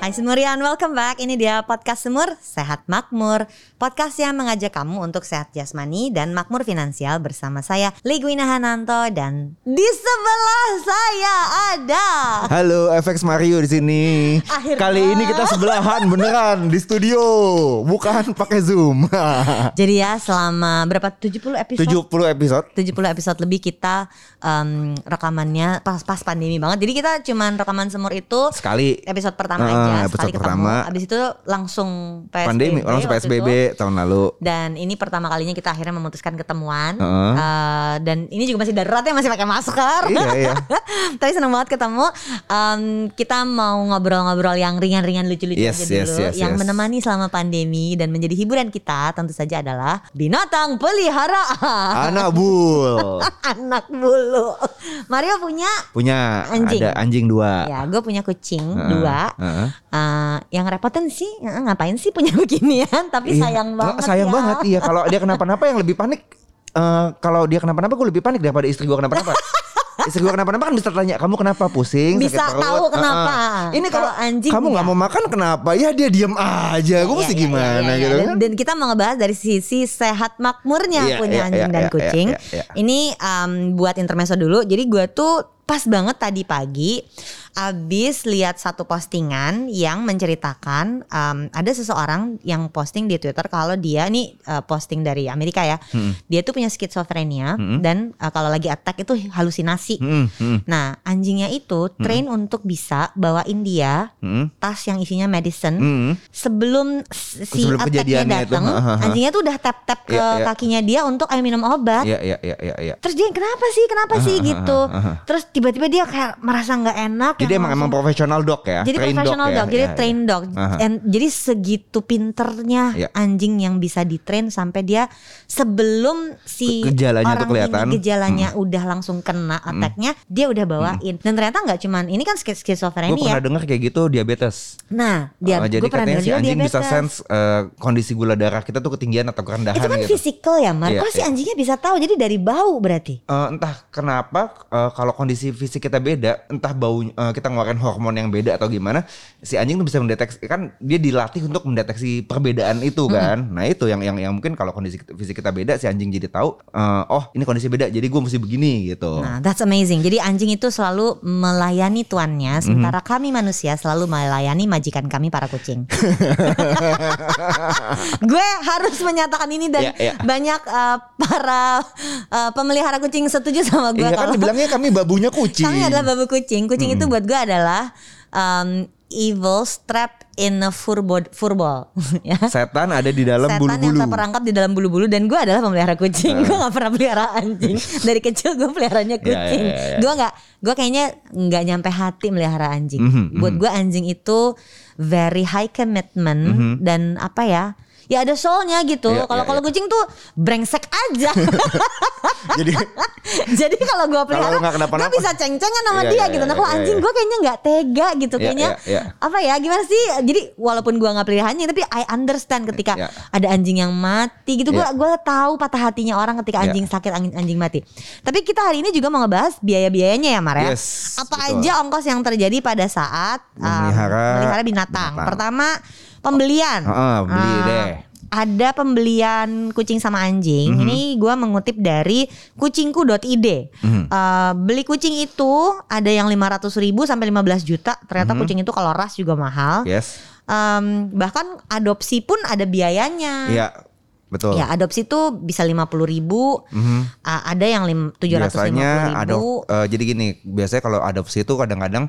Hai Semurian, welcome back. Ini dia podcast Semur Sehat Makmur. Podcast yang mengajak kamu untuk sehat jasmani dan makmur finansial bersama saya Ligwina Hananto dan di sebelah saya ada Halo FX Mario di sini. Akhirnya. Kali ini kita sebelahan beneran di studio, bukan pakai Zoom. 70 Jadi ya selama berapa 70 episode? episode. 70 episode lebih kita em, rekamannya pas pas pandemi banget. Jadi kita cuman rekaman semur itu Sekali episode pertama aja Ah, episode sekali pertama. ketemu. Abis itu langsung PSBB. pandemi, orang waktu itu. PSBB tahun lalu. Dan ini pertama kalinya kita akhirnya memutuskan ketemuan. Heeh. Eh, dan ini juga masih daruratnya masih pakai masker. iya, iya. Tapi senang banget ketemu. Em, kita mau ngobrol-ngobrol yang ringan-ringan lucu-lucu Yes, aja yes, dulu. yes, yang yes. menemani selama pandemi dan menjadi hiburan kita tentu saja adalah binatang peliharaan Anak bul. anak bulu. Mario punya Punya Anjing. ada anjing dua. Ya, gue punya kucing Ah. Heeh, dua. heeh. Eh, yang repotin sih eh, ngapain sih punya beginian? Tapi Iya. sayang banget. Sayang ya. banget iya kalau dia kenapa-napa yang lebih panik eh, kalau dia kenapa-napa gue lebih panik daripada istri gue kenapa-napa. istri gue kenapa-napa kan bisa tanya kamu kenapa pusing Bisa sakit perut. tahu Heeh. kenapa. Ini kalau Kalau anjing kamu nggak nggak. mau makan kenapa? Ya dia diam aja. Gue Iya, mesti iya, iya, gimana iya, gitu iya. kan. Dan, dan kita mau ngebahas dari sisi sehat makmurnya Iya, punya iya, anjing iya, dan iya, kucing. iya, iya. Ini em, buat intermezzo dulu. Jadi gue tuh pas banget tadi pagi abis lihat satu postingan yang menceritakan em, ada seseorang yang posting di Twitter kalau dia ini eh, posting dari Amerika ya. Hmm. Dia tuh punya skizofrenia dan eh, kalau lagi attack itu halusinasi. Hmm, hmm, Nah, anjingnya itu train untuk bisa bawain dia hmm, tas yang isinya medicine hmm. sebelum si Sebelum attacknya kejadiannya itu, datang, ha, ha, ha. anjingnya tuh udah tap tap ke Iya, iya. kakinya dia untuk ayo minum obat. Iya, iya, iya, iya, iya. Terus dia kenapa sih, kenapa sih ha, gitu. ha, ha. Terus tiba-tiba dia kayak merasa nggak enak. Jadi yang emang emang langsung- profesional dok ya, jadi trained profesional ya? dog, jadi Iya, iya. train dog. Aha. And, jadi segitu pinternya Iya. anjing yang bisa ditrain sampai dia sebelum si Ge- gejalanya tuh orang kelihatan. Hmm. ini gejalanya udah langsung kena attacknya, dia udah bawain. Dan ternyata nggak cuman ini kan skiz- Gue skizofrenia. pernah dengar kayak gitu diabetes. Nah, dia Oh, jadi gue pernah katanya dengar si juga anjing diabetes. bisa sense eh, kondisi gula darah kita tuh ketinggian atau kerendahan Itu kan gitu. fisikal ya, Mar. Iya, Kok si iya. anjingnya bisa tahu? Jadi dari bau berarti. Eh, entah kenapa eh, kalau kondisi fisik kita beda, entah bau eh, kita ngeluarin hormon yang beda atau gimana, si anjing tuh bisa mendeteksi kan dia dilatih untuk mendeteksi perbedaan itu kan. Nah, itu yang yang yang mungkin kalau kondisi kita- fisik kita beda si anjing jadi tahu eh, oh, ini kondisi beda jadi gue mesti begini gitu. Nah, that's amazing. Jadi anjing itu selalu melayani tuannya, Mhm. sementara kami manusia selalu melayani majikan kami para kucing. Gue harus menyatakan ini dan Iya, iya. banyak eh, para eh, pemelihara kucing setuju sama gue Iya kan kalau dibilangnya kami babunya kucing. Mhm. kami adalah babu kucing. Kucing itu buat gue adalah em, evil strapped in a furball, furball. ya. Setan ada di dalam setan bulu-bulu. Nah. yang terperangkap di dalam bulu-bulu dan gue adalah pemelihara kucing. Gue nggak pernah pelihara anjing. Dari kecil gue peliharanya kucing. ya, ya, ya. Gue nggak, gue kayaknya nggak nyampe hati melihara anjing. Mhm, Buat gue anjing itu very high commitment Mhm. dan apa ya? Ya ada soalnya gitu. Iya, Kalau iya, kalau iya. kucing tuh brengsek aja. Jadi Jadi kalau gue pelihara, nggak kenapa-napa. gue bisa ceng-cengan sama Iya, dia iya, gitu. Nah iya, kalau iya, anjing iya. gue kayaknya nggak tega gitu. Iya, Kayaknya iya, iya. apa ya? Gimana sih? Jadi walaupun gue nggak peliharaannya, tapi I understand ketika Iya. ada anjing yang mati gitu. Gue Iya. gue tahu patah hatinya orang ketika Iya. anjing sakit, anjing, anjing mati. Tapi kita hari ini juga mau ngebahas biaya-biayanya ya, Mar ya. Yes, apa betul. aja ongkos yang terjadi pada saat um, Memelihara- memelihara binatang. binatang. Pertama pembelian. Heeh, beli Ah, deh. ada pembelian kucing sama anjing. Mhm. Ini gua mengutip dari kucingku.id. Mhm. Eh, beli kucing itu ada yang 500 ribu sampai 15 juta. Ternyata Mhm. kucing itu kalau ras juga mahal. yes. Em, bahkan adopsi pun ada biayanya. Iya. Betul. Mhm. Ya adopsi tuh bisa 50 ribu. ada yang lim- 750 biasanya ribu. adop eh, jadi gini biasanya kalau adopsi itu kadang-kadang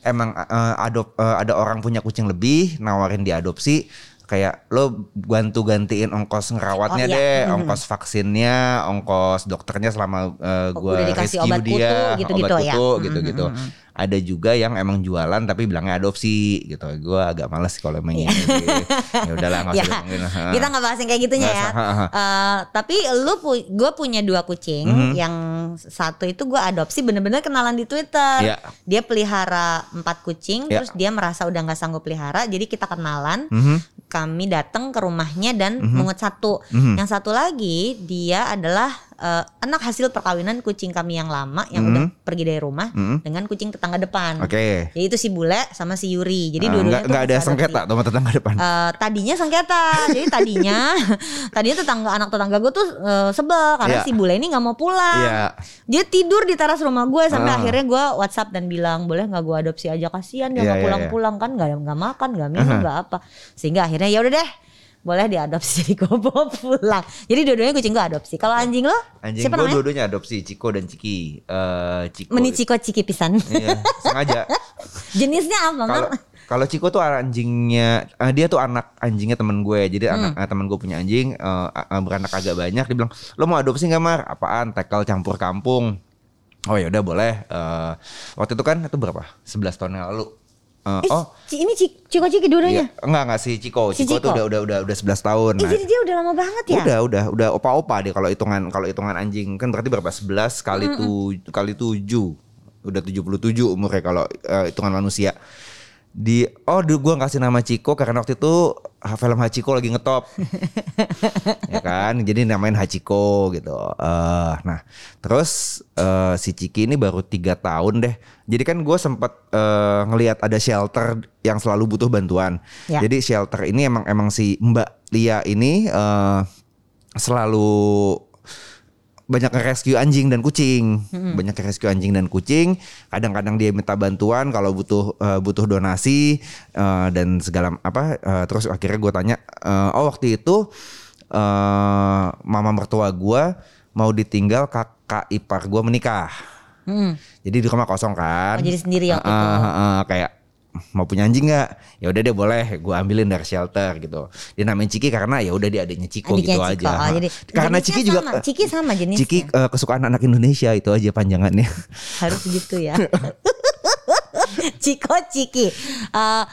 emang eh, adop eh, ada orang punya kucing lebih nawarin diadopsi kayak lo bantu gantiin ongkos ngerawatnya Oh, iya. deh ongkos vaksinnya ongkos dokternya selama eh, Oh, gua udah dikasih rescue obat dia kutu, gitu-gitu, obat ya. kutu Mm, gitu-gitu mm, ada juga yang emang jualan tapi bilangnya adopsi gitu gue agak males sih kalau emang ini ya udahlah nggak usah Iya. Ya, diomongin. Ha. kita nggak bahas yang kayak gitunya Nggak ya. usah, ha, ha. Eh, tapi lu pu- gue punya dua kucing, Mhm. yang satu itu gue adopsi bener-bener kenalan di Twitter. Iya. Dia pelihara empat kucing, Ya. terus dia merasa udah nggak sanggup pelihara, jadi kita kenalan. Mhm, Kami datang ke rumahnya dan Mhm. mengut satu. mhm. Yang satu lagi dia adalah eh, anak hasil perkawinan kucing kami yang lama yang Mhm. udah pergi dari rumah Mhm. dengan kucing tetangga depan. Oke. Jadi itu si Bule sama si Yuri. Jadi Ah, dua-duanya nggak- tuh nggak ada hasil adopsi. sengketa sama tetangga depan. Eh, tadinya sengketa jadi tadinya tadinya tetangga anak tetangga gue tuh eh, sebel karena Iya. si bule ini nggak mau pulang Iya. dia tidur di teras rumah gue sampai Ah. akhirnya gue WhatsApp dan bilang boleh nggak gue adopsi aja kasihan dia Iya, nggak iya, pulang-pulang kan nggak nggak makan nggak minum Aha. nggak apa sehingga akhirnya ya udah deh boleh diadopsi jadi gue bawa pulang jadi dua-duanya kucing gue adopsi kalau anjing lo Anjing siapa gue namanya dua-duanya adopsi Ciko dan Ciki. Eh Ciko. meniciko ciki pisan Iya, sengaja. jenisnya apa Kalau Mam? kalau Ciko tuh anjingnya eh, dia tuh anak anjingnya temen gue. Hmm. Jadi anak eh, temen gue punya anjing eh, eh, beranak agak banyak dia bilang, "Lo mau adopsi nggak, Mar?" Apaan? Tekel campur kampung. Oh ya udah boleh. Eh, waktu itu kan itu berapa? 11 tahun yang lalu. Eh, Eh, oh, ci- ini ciko ciki iya. dua-duanya enggak enggak si Ciko. Si Ciko, Ciko. tuh udah udah udah udah 11 tahun. eh Nah, jadi dia udah lama banget ya Udah, udah, udah opa-opa deh kalau hitungan kalau hitungan anjing kan berarti berapa? 11 kali tuj- kali 7. Udah 77 umurnya kalau eh, hitungan manusia. Di oh du, gua ngasih nama Ciko karena waktu itu ha- film Hachiko lagi ngetop. ya kan? Jadi namain Hachiko gitu. Eh, nah, terus eh, si Ciki ini baru tiga tahun deh. Jadi kan gue sempat eh, ngelihat ada shelter yang selalu butuh bantuan. Ya. Jadi shelter ini emang emang si Mbak Lia ini eh, selalu banyak rescue anjing dan kucing, banyak rescue anjing dan kucing. Kadang-kadang dia minta bantuan kalau butuh eh, butuh donasi eh, dan segala apa. Eh, terus akhirnya gue tanya, eh, oh waktu itu eh mama mertua gue mau ditinggal kakak ipar gue menikah. Mm-mm. Jadi di rumah kosong Oh, kan. jadi sendiri waktu itu. Heeh, heeh, kayak mau punya anjing nggak? Ya udah deh boleh, gue ambilin dari shelter gitu. Dia namain Ciki karena ya udah dia adiknya Ciko Adiknya gitu Ciko. aja. Oh, jadi karena jenisnya Ciki juga sama. Ciki sama jenisnya. Ciki eh, kesukaan anak Indonesia itu aja panjangannya. harus gitu ya. Ciko Ciki. Eh,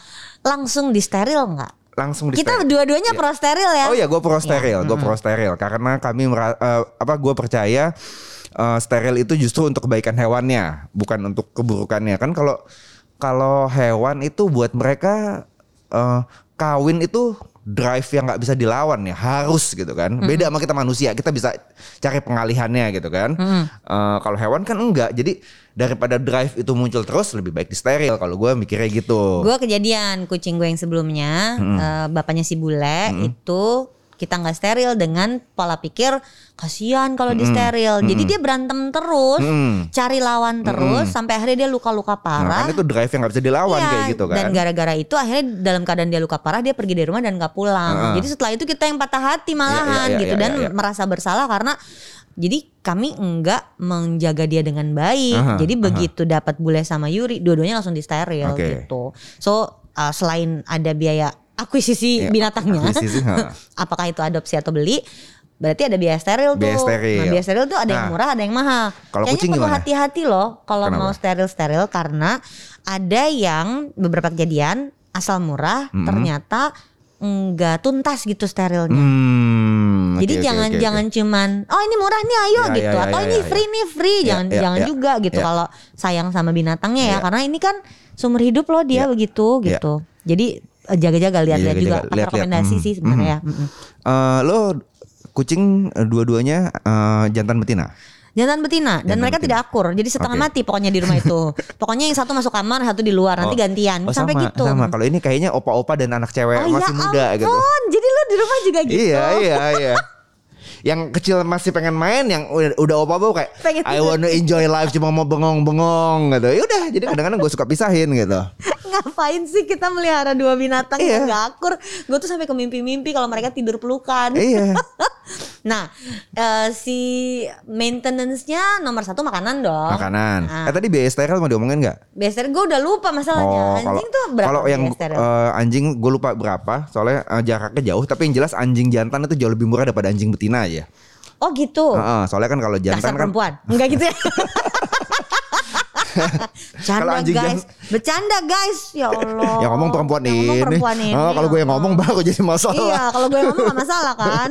langsung di steril nggak? Langsung di Kita steril. dua-duanya pro steril ya. Oh ya, gue pro steril, gue pro steril karena kami mera- eh, apa gue percaya eh, steril itu justru untuk kebaikan hewannya, bukan untuk keburukannya. Kan kalau kalau hewan itu buat mereka eh, kawin itu drive yang nggak bisa dilawan ya harus gitu kan beda sama kita manusia kita bisa cari pengalihannya gitu kan Eh, kalau hewan kan enggak jadi daripada drive itu muncul terus lebih baik di steril kalau gue mikirnya gitu Gue kejadian kucing gue yang sebelumnya eh, bapaknya si bule itu kita nggak steril dengan pola pikir kasihan kalau di steril. Jadi dia berantem terus, Mm. cari lawan terus sampai akhirnya dia luka-luka nah, parah. kan itu drive yang nggak bisa dilawan Iya, kayak gitu kan Dan gara-gara itu akhirnya dalam keadaan dia luka parah dia pergi dari rumah dan nggak pulang. Heeh. Jadi setelah itu kita yang patah hati malahan Iya, iya, iya, gitu iya, dan iya. merasa bersalah karena jadi kami enggak menjaga dia dengan baik. Aha, jadi aha. begitu dapat bule sama Yuri, dua-duanya langsung di steril Oke. gitu. So uh, selain ada biaya akuisisi Iya, binatangnya, akuisisi, ha. apakah itu adopsi atau beli? Berarti ada biaya steril Biaya tuh. steril. Nah, biaya steril tuh ada yang Nah. murah, ada yang mahal. Kalau Kayaknya kucing perlu gimana? hati-hati loh kalau Kenapa? mau steril-steril karena ada yang beberapa kejadian asal murah Mm-mm. ternyata enggak tuntas gitu sterilnya. Hmm, Jadi Mm, oke, oke, jangan oke, oke. jangan cuman oh ini murah nih ayo Ya, gitu ya, ya, atau ya, ini ya. free nih free Ya, jangan ya, jangan ya. juga gitu Ya. kalau sayang sama binatangnya ya Ya. karena ini kan sumber hidup loh dia Ya. begitu Ya. Iya, gitu. Jadi eh, jaga-jaga lihat-lihat juga jaga-jaga, Kan lihat-lihat. rekomendasi Mm, sih sebenarnya. Mm-mm. Eh, lo kucing eh, dua-duanya eh, jantan betina. Jantan betina dan Jantan mereka betina. tidak akur. Jadi setengah Oke. mati pokoknya di rumah itu. pokoknya yang satu masuk kamar, satu di luar, nanti Oh. gantian. Oh, Sampai sama, gitu. Sama. Kalau ini kayaknya opa-opa dan anak cewek masih muda gitu. Oh, ya ampun. Jadi lu di rumah juga gitu. Iya, iya, iya. Yang kecil masih pengen main, yang udah, udah opa-opa kayak Pengen I tidur. want to enjoy life cuma mau bengong-bengong gitu. Ya udah, jadi kadang-kadang gue suka pisahin gitu. Ngapain sih kita melihara dua binatang Iya. yang gak akur? Gue tuh sampai ke mimpi-mimpi kalau mereka tidur pelukan. Iya. Nah, eh, si maintenance-nya nomor satu makanan dong. Makanan. Ah. Eh tadi biaya steril mau diomongin nggak? Biasanya gue udah lupa masalahnya. anjing tuh berapa ya Oh, kalau yang biaya steril? eh, anjing gue lupa berapa, soalnya eh, jaraknya jauh. Tapi yang jelas anjing jantan itu jauh lebih murah daripada anjing betina aja. oh gitu. Heeh, soalnya eh, kan kalau jantan Dasar kan perempuan. Enggak gitu ya. Kalau Canda anjing guys, bercanda guys. Ya Allah. yang ngomong perempuan Yang ngomong ini. perempuan ini. ya Oh, kalau gue yang ngomong baru jadi Iya, masalah. kalau gue yang ngomong gak masalah kan.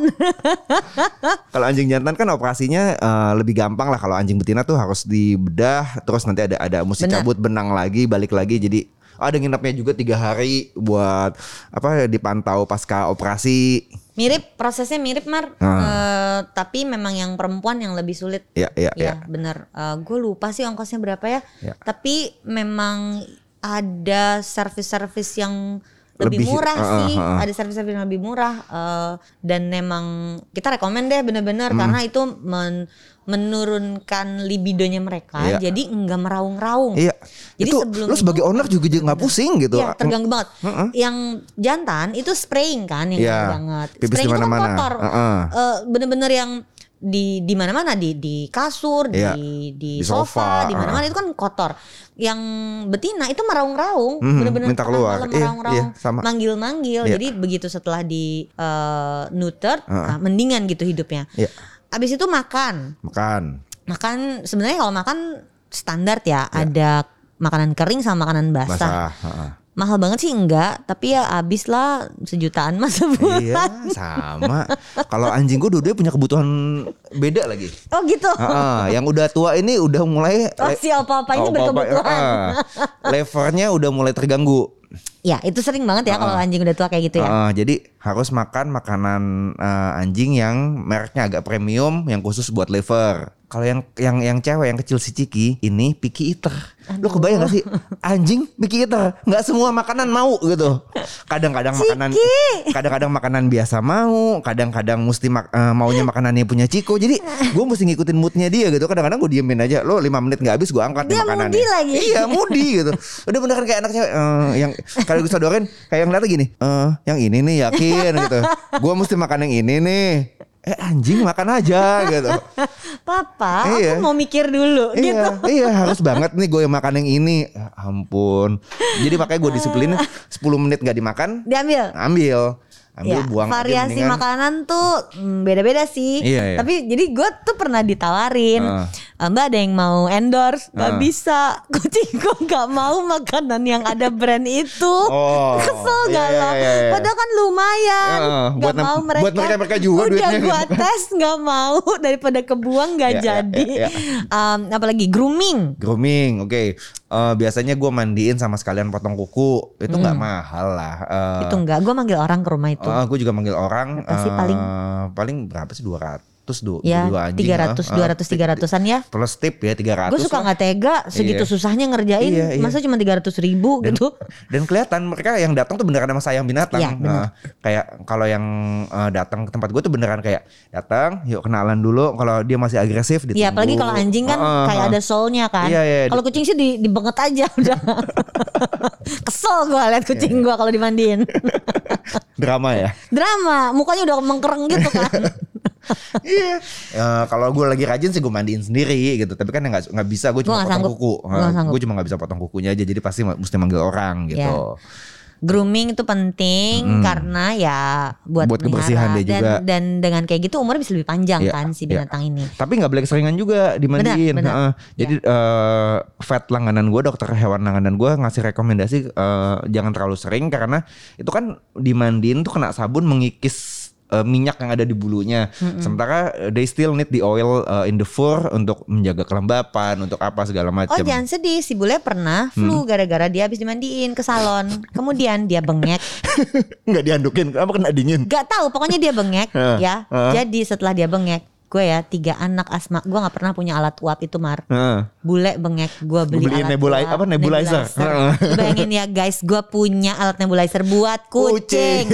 Kalau anjing jantan kan operasinya eh, lebih gampang lah. Kalau anjing betina tuh harus dibedah, terus nanti ada ada mesti Benar. cabut benang lagi, balik lagi. Jadi ah, ada nginepnya juga tiga hari buat apa dipantau pasca operasi. mirip prosesnya mirip Mar. Ah. Eh, tapi memang yang perempuan yang lebih sulit. Ya, ya, ya. Ya, bener. Eh, gue lupa sih ongkosnya berapa ya. Ya. Tapi memang ada service-service yang lebih, Lebih, murah ah, sih. ah, ah. Ada service-service yang lebih murah. eh, dan memang kita rekomen deh bener-bener Hmm. karena itu men- menurunkan libidonya mereka. Iya. Jadi nggak meraung-raung. Iya. Jadi itu sebelum lu sebagai itu- owner juga jadi nggak pusing gitu. Iya terganggu banget. Heeh. Yang jantan itu spraying kan yang Iya. ganggu banget. Pipis spraying itu di kan mana-mana. kotor. Heeh. Eh, bener-bener yang di di mana-mana di di kasur, Iya. di di Di sofa, sofa, di mana-mana itu kan kotor. Yang betina itu meraung-raung, Mhm, bener-bener minta tengah keluar. malam Iya, meraung-raung, iya, sama. manggil-manggil. Iya. Jadi begitu setelah di eh, neuter, Heeh. ah, mendingan gitu hidupnya. Iya. Abis itu makan, Makan. makan sebenarnya kalau makan standar ya, ada makanan kering sama makanan basah. Iya. Basah. heeh. Mahal banget sih enggak, tapi ya abis lah sejutaan mas Oh, sebulan. Iya, sama. Kalau anjing gue dua-duanya punya kebutuhan beda lagi. Oh gitu. Heeh, yang udah tua ini udah mulai Oh, si opa-opa ini berkebutuhan. heeh. levernya udah mulai terganggu. Ya itu sering banget Ah, ya kalau anjing udah tua kayak gitu ya. Heeh, jadi harus makan makanan eh, anjing yang mereknya agak premium yang khusus buat liver. Kalau yang yang yang cewek yang kecil si Ciki ini picky eater. Lu kebayang gak sih anjing picky eater? Nggak semua makanan mau gitu. Kadang-kadang makanan kadang-kadang makanan biasa mau, kadang-kadang mesti mak- eh, maunya makanannya punya Ciko. Jadi gue mesti ngikutin moodnya dia gitu. Kadang-kadang gue diemin aja. Lo 5 menit nggak habis gue angkat nih Dia makanannya. moody lagi. Iya Ya, mudi gitu. Udah beneran kayak anaknya eh, yang kalau gue sodorin kayak yang lihat gini, eh yang ini nih yakin gitu. Gua mesti makan yang ini nih. Eh anjing makan aja gitu. Papa, Iya. aku mau mikir dulu gitu. Iya, iya harus banget nih gue yang makan yang ini. Ya ampun. Jadi makanya gue disiplinin 10 menit gak dimakan, Diambil. ambil. Ambil Ya, buang aja variasi mendingan. makanan tuh mm, beda-beda sih. Iya, Ah. iya. Tapi jadi gue tuh pernah ditawarin, Heeh. "Eh, Mbak ada yang mau endorse, nggak Heeh. bisa. Kucing gue nggak mau makanan yang ada brand itu. Oh, Kesel iya, gak iya, lo? iya, iya. Padahal kan lumayan. Heeh, Nggak buat nem- mau mereka. buat mereka-mereka juga Udah duitnya gue gitu. tes nggak mau daripada kebuang nggak Iya, iya, jadi. iya, Em, apalagi grooming. Grooming, oke. Eh, biasanya gue mandiin sama sekalian potong kuku, itu nggak mahal lah. Eh, Hmm. Itu enggak, gue manggil orang ke rumah itu. Ah, gue juga manggil orang. Berapa sih eh, paling? paling berapa sih 200 dua, ya, dua anjing. 300, ah. 200, Ah, 300-an ya. Plus tip ya 300. Gue suka lah. nggak tega segitu Iya. susahnya ngerjain, Iya, iya. masa cuma 300 ribu Dan- gitu. Dan kelihatan mereka yang datang tuh beneran sama sayang binatang. Iya, bener. Nah, kayak kalau yang eh, datang ke tempat gue tuh beneran kayak datang, yuk kenalan dulu. Kalau dia masih agresif, ditunggu. Ya apalagi kalau anjing kan Ah, ah, kayak ah. ada soulnya kan. Iya, iya. Kalau kucing sih di, dibenget aja udah. Kesel gue Iya, liat kucing gue kalau dimandiin. drama ya. Drama, mukanya udah mengkereng gitu kan. Iya. Eh, kalau gue lagi rajin sih gue mandiin sendiri gitu. Tapi kan nggak nggak bisa gue Gua cuma nggak potong sanggup. kuku. Gua nggak sanggup. gue cuma nggak bisa potong kukunya aja. Jadi pasti ma- mesti manggil orang gitu. Iya. grooming itu penting karena ya buat, Hmm. Buat melihara. kebersihan dia dan, juga. dan dengan kayak gitu umurnya bisa lebih panjang Iya, kan si iya. binatang ini. Tapi nggak boleh keseringan juga dimandiin. Benar, Iya. benar. Heeh. Jadi eh, vet langganan gue, dokter hewan langganan gue ngasih rekomendasi eh, jangan terlalu sering karena itu kan dimandiin tuh kena sabun mengikis eh, minyak yang ada di bulunya. Sementara eh, they still need the oil eh, in the fur untuk menjaga kelembapan, untuk apa segala Oh macam. Hmm. jangan sedih, si bule pernah flu gara-gara dia habis dimandiin ke salon. Kemudian dia bengek. Nggak diandukin, kenapa kena dingin? Gak tahu, pokoknya dia bengek Heeh, ya. heeh. Jadi setelah dia bengek, gue ya tiga anak asma, gue nggak pernah punya alat uap itu mar. Heeh. Bule bengek, gue beli Beli alat nebula- uap, apa, nebulizer. nebulizer. Lu Bayangin ya guys, gue punya alat nebulizer buat kucing.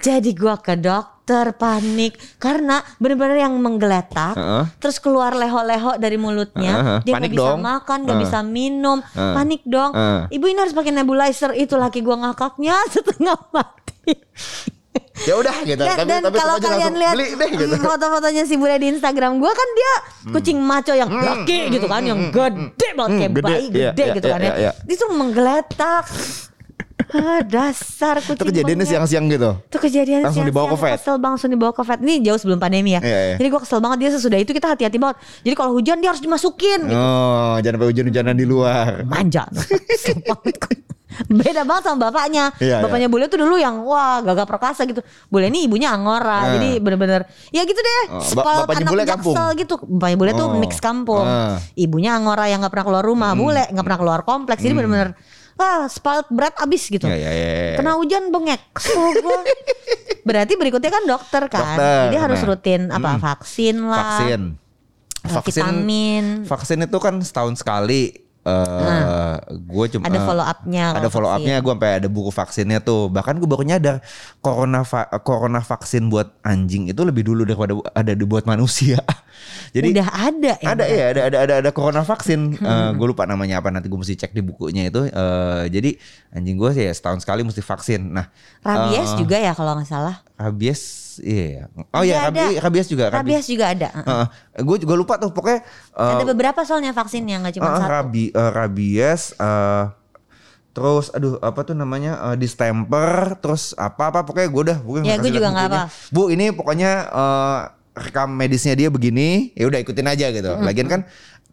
Jadi gua ke dokter panik karena bener-bener yang menggeletak Heeh. terus keluar leho-leho dari mulutnya Heeh. dia nggak Panik bisa dong. makan nggak Heeh. bisa minum Heeh. panik dong Heeh. ibu ini harus pakai nebulizer itu laki gua ngakaknya setengah mati Ya udah gitu. dan, dan kalau tetap aja kalian langsung lihat beli deh gitu. Hmm. foto-fotonya si bule di Instagram gua kan dia kucing maco yang laki gitu kan yang gede banget kayak Hmm. gede, bayi gede iya, gitu iya, kan iya, ya iya. itu menggeletak Ah, dasar kucing Itu kejadiannya monyet. siang-siang gitu. Itu kejadian siang-siang, Langsung dibawa ke gua vet. Kesel banget langsung dibawa ke vet. Ini jauh sebelum pandemi ya. Iya, iya. Jadi gue kesel banget dia sesudah itu kita hati-hati banget. Jadi kalau hujan dia harus dimasukin. Oh, jangan sampai hujan-hujanan di luar. Manja. Kesel banget gua. Beda banget sama bapaknya. Iya, bapaknya bule tuh dulu yang wah gagah perkasa gitu. Bule ini ibunya angora. Ah. Jadi bener-bener ya gitu deh. Oh, ba- Sekolah bapaknya anak bule jaksel kampung? gitu. Bapaknya bule tuh Oh. mix kampung. Ah. Hmm. Ibunya angora yang nggak pernah keluar rumah, bule nggak pernah keluar kompleks. Jadi bener-bener wah spalt berat abis gitu. Iya, iya, iya. iya. Kena hujan bengek. Kesel gua. Berarti berikutnya kan dokter kan. Dokter, Jadi harus nah. rutin apa vaksin lah. vaksin. eh, vitamin. Vaksin itu kan setahun sekali. eh gue cuma Nah, Ada follow up-nya ada kalau follow vaksin. up-nya gue sampai ada buku vaksinnya tuh bahkan gue baru nyadar corona va- corona vaksin buat anjing itu lebih dulu daripada ada dibuat manusia jadi Udah ada ya. ada ya ada ada ada ada corona vaksin gue lupa namanya apa nanti gue mesti cek di bukunya itu Eh, jadi anjing gue sih ya setahun sekali mesti vaksin nah Rabies eh, juga ya kalau nggak salah. rabies iya oh Iya, iya ada. rabies, rabies juga Rabies juga ada. Heeh. gue juga lupa tuh pokoknya eh, ada beberapa soalnya vaksinnya nggak cuma Ah, satu. rabi, eh, rabies, eh, terus aduh apa tuh namanya eh, distemper, terus apa apa pokoknya gue udah pokoknya Ya, nggak gua kasih juga liat nggak bukunya. Bu ini pokoknya eh, rekam medisnya dia begini, ya udah ikutin aja gitu. Lagian kan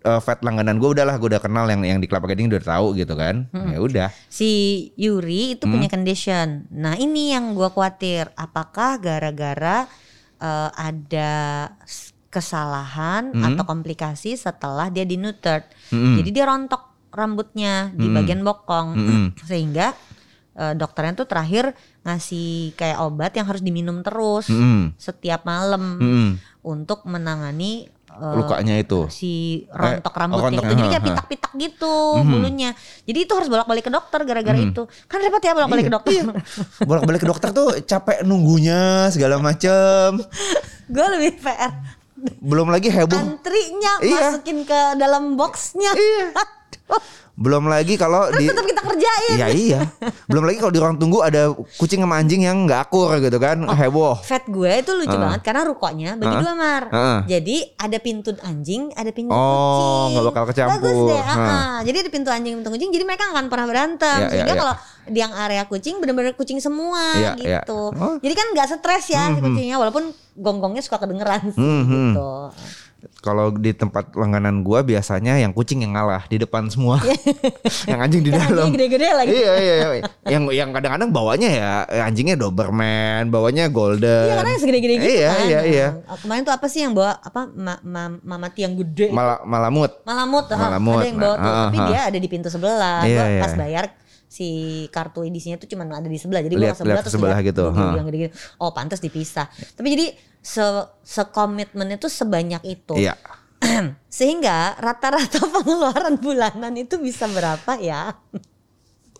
eh, vet langganan gue udahlah gue udah kenal yang yang di Kelapa Gading udah tahu gitu kan. Ya udah. Si Yuri itu Hmm. punya condition. Nah ini yang gua khawatir. Apakah gara-gara eh, ada s- kesalahan Hmm. atau komplikasi setelah dia dinutered. Jadi dia rontok rambutnya Hmm. di bagian bokong. Mm-mm. Sehingga eh, dokternya tuh terakhir ngasih kayak obat yang harus diminum terus Mm-mm. setiap malam Mm-mm. untuk menangani eh, Lukanya itu. si rontok Eh, rambutnya rontok, Mhm. itu jadi kayak ha, ha. pitak-pitak gitu bulunya jadi itu harus bolak-balik ke dokter Mhm. gara-gara itu kan repot ya bolak-balik Iya, ke dokter Bolak-balik ke dokter tuh capek nunggunya segala macem. gue lebih pr Belum lagi heboh. Kan? antrinya Iya. masukin ke dalam boxnya Iya. Aduh, Belum lagi kalau di tetap kita kerjain Iya iya. Belum lagi kalau di ruang tunggu ada kucing sama anjing yang nggak akur gitu kan, Oh. heboh. Vet gue itu lucu banget karena rukonya bagi Ah. dua mar. Ah. Jadi ada pintu anjing, ada pintu Oh, kucing. nggak bakal Bagus kecampur. deh. ah, Ah. ah. Jadi ada pintu anjing, pintu kucing. Jadi mereka nggak akan pernah berantem. Iya, iya, Sehingga iya. kalau di yang area kucing benar-benar kucing semua Iya, iya. gitu. Oh. Jadi kan nggak stres ya si kucingnya walaupun gonggongnya suka kedengeran sih Hmm, hmm. gitu. Kalau di tempat langganan gua biasanya yang kucing yang ngalah di depan semua. yang anjing di Iya. Yang Kan anjingnya dalam. gede-gede lagi. Iya iya iya. Yang yang kadang-kadang bawanya ya anjingnya Doberman, bawanya Golden. Iya karena yang segede-gede gitu Iya, kan. iya, iya. Nah, Kemarin tuh apa sih yang bawa apa ma- ma- mamati yang gede Mala- malamut. Malamut, ah, Malamut, ada yang bawa tuh, nah, tapi ah, ah. dia ada di pintu sebelah. Iya, Gua iya. pas bayar si kartu edisinya tuh cuman ada di sebelah. Jadi gua Lihat- ke sebelah lihat ke sebelah lihat gitu, gede-gede ha. yang gede-gede. Oh, pantas dipisah. Tapi jadi se sekomitmennya tuh sebanyak itu. Iya. Sehingga rata-rata pengeluaran bulanan itu bisa berapa ya?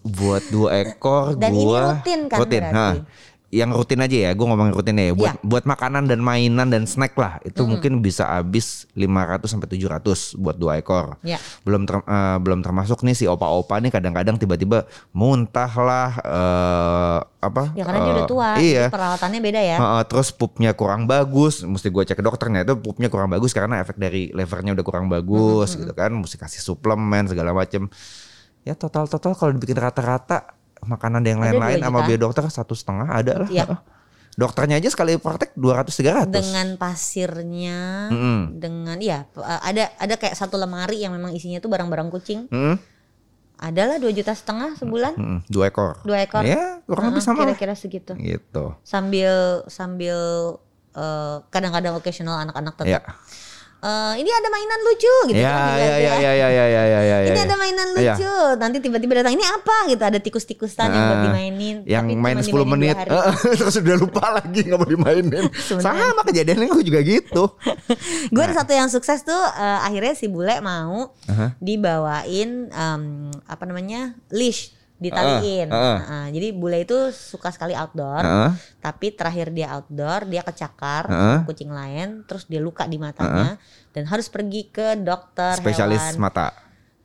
Buat dua ekor Dan ini gua rutin kan berarti? Yang rutin aja ya, gua ngomongin rutin ya. Iya. Buat buat makanan dan mainan dan snack lah, itu mungkin bisa habis 500 sampai 700 buat dua ekor. Ya. belum ter- eh, belum termasuk nih si opa-opa nih kadang-kadang tiba-tiba muntah lah eh, apa Ya karena dia eh, udah tua, iya Ah, jadi peralatannya beda ya. Heeh, terus pupnya kurang bagus, mesti gue cek ke dokternya itu pupnya kurang bagus karena efek dari levernya udah kurang bagus Mm-hmm. gitu kan, mesti kasih suplemen segala macem. Ya total total kalau dibikin rata-rata makanan yang Ada lain-lain dua sama juta. bio dokter satu setengah ada lah. Iya. Heeh. Dokternya aja sekali praktek 200 300. dengan pasirnya, Mm-mm. dengan ya ada ada kayak satu lemari yang memang isinya tuh barang-barang kucing. Mm-mm, Adalah dua juta setengah sebulan. mm-mm, dua ekor. Dua ekor. Ya, kurang Heeh, lebih sama lah. kira-kira segitu Gitu. sambil sambil eh, kadang-kadang occasional anak-anak Ya. tetap eh, ini ada mainan lucu gitu Ya, kan ya, bilang ya, dia. ya, ya, ya, ya, ya, ya, ini ya. ada mainan Iya. lucu nanti tiba-tiba datang ini apa gitu ada tikus-tikusan yang buat Ah, dimainin yang tapi main cuma dimainin 10 dua menit hari. terus udah lupa lagi nggak mau dimainin Sebenarnya. sama kejadiannya gue juga gitu gue ada satu yang sukses tuh eh, akhirnya si bule mau dibawain em, apa namanya leash ditaliin Heeh, heeh. Heeh, jadi bule itu suka sekali outdoor Heeh. tapi terakhir dia outdoor dia kecakar Heeh. sama kucing lain terus dia luka di matanya dan harus pergi ke dokter spesialis hewan mata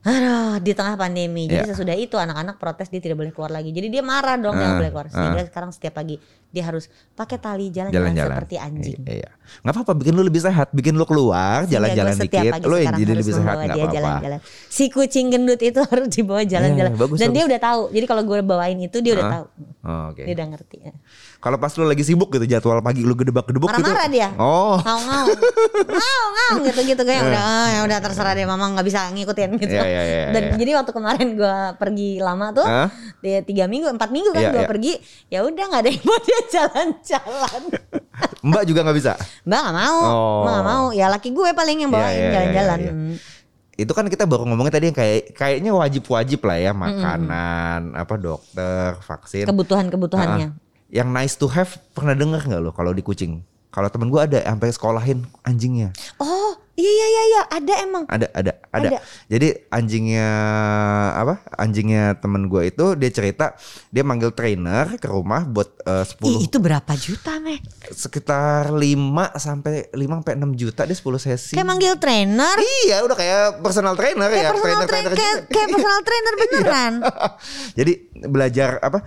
Aduh, di tengah pandemi. Jadi Iya. sesudah itu anak-anak protes dia tidak boleh keluar lagi. Jadi dia marah dong yang Ah, boleh keluar. Sehingga ah. sekarang setiap pagi dia harus pakai tali jalan-jalan jalan-jalan seperti anjing. I- iya nggak apa-apa bikin lu lebih sehat bikin lu keluar Sehingga jalan-jalan gua setiap dikit pagi lu yang sekarang jadi harus lebih sehat membawa nggak dia apa-apa jalan-jalan. Si kucing gendut itu harus dibawa jalan-jalan. Iya, bagus, Dan dia bagus. udah tahu. Jadi kalau gue bawain itu dia udah Ah, tahu. oh, oke Dia udah ngerti. ya. kalau pas lu lagi sibuk gitu jadwal pagi lu gedebak-gedebuk gitu Marah-marah dia. oh Ngau-ngau. Ngau-ngau gitu-gitu kayak udah ah, ya udah terserah deh mama nggak bisa ngikutin gitu. Iya, iya, iya, Dan iya. jadi waktu kemarin gue pergi lama tuh Hah? dia tiga minggu empat minggu kan Iya, gue iya. pergi ya udah nggak ada yang mau dia jalan-jalan mbak juga nggak bisa mbak nggak mau Oh. mbak nggak mau ya laki gue paling yang Iya, bawain iya, iya, jalan-jalan iya, iya. Hmm. itu kan kita baru ngomongin tadi yang kayak kayaknya wajib-wajib lah ya makanan apa dokter vaksin kebutuhan-kebutuhannya Ah, yang nice to have pernah denger nggak lo kalau di kucing? Kalau temen gue ada sampai sekolahin anjingnya. oh iya iya iya iya ada emang Ada, ada, ada. Ada. Jadi anjingnya apa? Anjingnya temen gue itu dia cerita dia manggil trainer ke rumah buat eh, 10 Ih, itu berapa juta meh sekitar 5 sampai 5 sampai 6 juta dia 10 sesi. kayak manggil trainer Iya, udah kayak personal trainer Iya. kayak ya, personal trainer trainer-trainer kayak, juga. kayak personal trainer beneran Jadi belajar apa?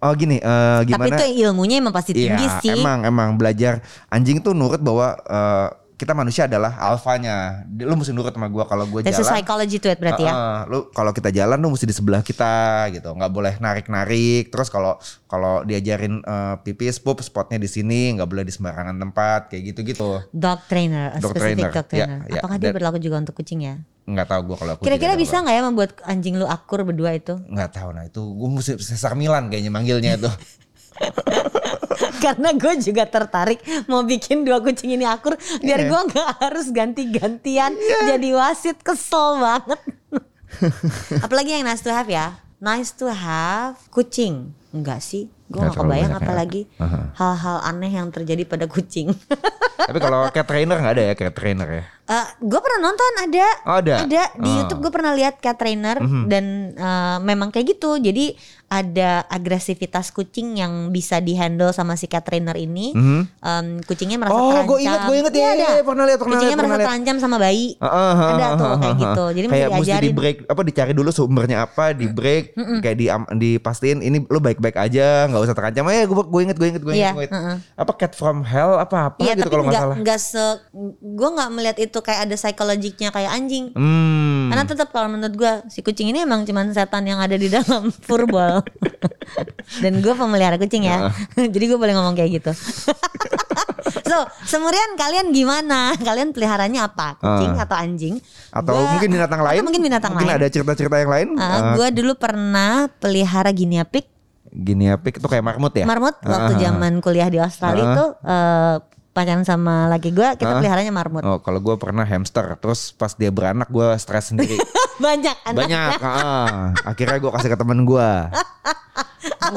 Oh gini, eh, tapi gimana? itu ilmunya emang pasti tinggi Iya, sih emang emang belajar anjing tuh nurut bahwa eh, kita manusia adalah alfanya. Di- Lu mesti nurut sama gua kalau gua That's a jalan. psychology to it berarti ya eh, eh, lu kalau kita jalan lu mesti di sebelah kita gitu, nggak boleh narik-narik. Terus kalau kalau diajarin eh, pipis pup spotnya di sini, nggak boleh di sembarangan tempat kayak gitu-gitu. dog trainer a Dog specific trainer, dog iya, trainer iya. apakah dia Dan- berlaku juga untuk kucing ya Nggak tahu gua kalau aku kira-kira jadi bisa nggak ya membuat anjing lu akur berdua itu apa. nggak tahu nah itu gua mesti Cesar Milan kayaknya manggilnya itu. Karena gue juga tertarik mau bikin dua kucing ini akur biar Iya. gue nggak harus ganti-gantian jadi wasit kesel banget. Apalagi yang nice to have ya, nice to have kucing enggak sih? Gue Nggak gak terlalu kebayang banyak ya. apalagi Aha. hal-hal aneh yang terjadi pada kucing. Tapi kalau cat trainer nggak ada ya cat trainer ya. Eh, gue pernah nonton ada, Ada? Mhm. di Oh. YouTube gue pernah lihat cat trainer dan eh, memang kayak gitu. Jadi ada agresivitas kucing yang bisa dihandle sama si cat trainer ini. Mhm. Em, kucingnya merasa Oh, terancam. gua ingat, gua ingat. Iya, Iya, ada. iya, pernah lihat, pernah kucingnya lihat, merasa pernah lihat. terancam sama bayi. Ah, ah, ah, ada ah, tuh ah, kayak ah, gitu. ah. Jadi kayak mesti mesti diajarin. di break apa dicari dulu sumbernya apa di break kayak di am- dipastiin ini lu baik-baik aja nggak usah terancam eh gue gue inget gue inget gue Iya, inget, gua inget. heeh. apa cat from hell apa apa Iya, gitu tapi kalau nggak nggak salah nggak se gue nggak melihat itu kayak ada psikologiknya kayak anjing. hmm Karena tetap kalau menurut gue si kucing ini emang cuman setan yang ada di dalam furball. Dan gue pemelihara kucing ya, jadi gue boleh ngomong kayak gitu. so, semurian kalian gimana? Kalian peliharanya apa? Kucing Ah. atau anjing? atau Gua- mungkin binatang lain atau mungkin binatang lain. ada cerita-cerita yang lain Ah, Eh, gue dulu pernah pelihara guinea pig, Guinea pig itu kayak marmut ya marmut waktu Ah. zaman kuliah di Australia Ah. itu eh, pacaran sama laki gue, kita Ah. peliharanya marmut. oh kalau gue pernah hamster terus pas dia beranak gue stres sendiri Banyak anak. banyak ah. akhirnya gue kasih ke temen gue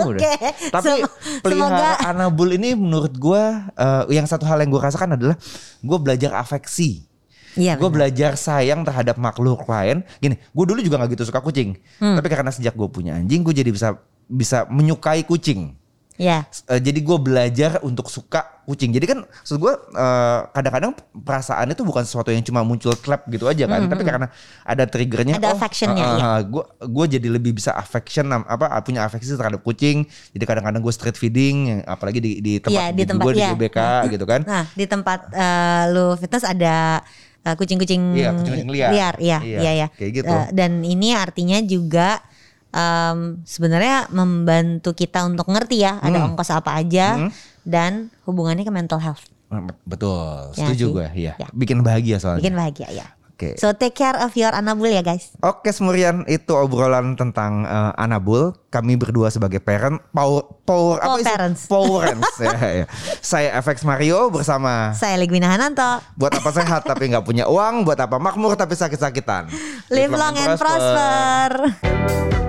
Oke. Tapi Sem- semoga pelihara anabul ini menurut gua eh, yang satu hal yang gua rasakan adalah gua belajar afeksi. Iya. Gue belajar sayang terhadap makhluk lain. Gini, gue dulu juga nggak gitu suka kucing. Hmm. Tapi karena sejak gue punya anjing, gue jadi bisa bisa menyukai kucing. Iya. S- eh, jadi gue belajar untuk suka kucing. Jadi kan, maksud gue eh, kadang-kadang perasaan itu bukan sesuatu yang cuma muncul klep gitu aja kan. Tapi karena ada triggernya, Mm-hmm. oh, eh, Ada affectionnya, iya. gue gue jadi lebih bisa affection am- apa punya afeksi terhadap kucing. Jadi kadang-kadang gue street feeding, apalagi di di tempat Iya, di tempat, gue di iya. GBK gitu kan. Nah, di tempat eh, lu fitness ada eh, kucing-kucing Iya, kucing-kucing liar. iya, Iya, iya, iya. kayak gitu. Eh, dan ini artinya juga em, sebenarnya membantu kita untuk ngerti ya ada Hmm. ongkos apa aja dan hubungannya ke mental health. Betul, Ya, setuju sih. gue. Iya, Ya. bikin bahagia soalnya. Bikin bahagia ya. Oke. So take care of your anabul ya guys. Oke Semurian itu obrolan tentang eh, Anabul. Kami berdua sebagai parent power power Power sih? parents. Power parents. ya, ya. Saya FX Mario bersama Saya Legwina Hananto. buat apa sehat tapi nggak punya uang, buat apa makmur tapi sakit-sakitan. Live long and prosper.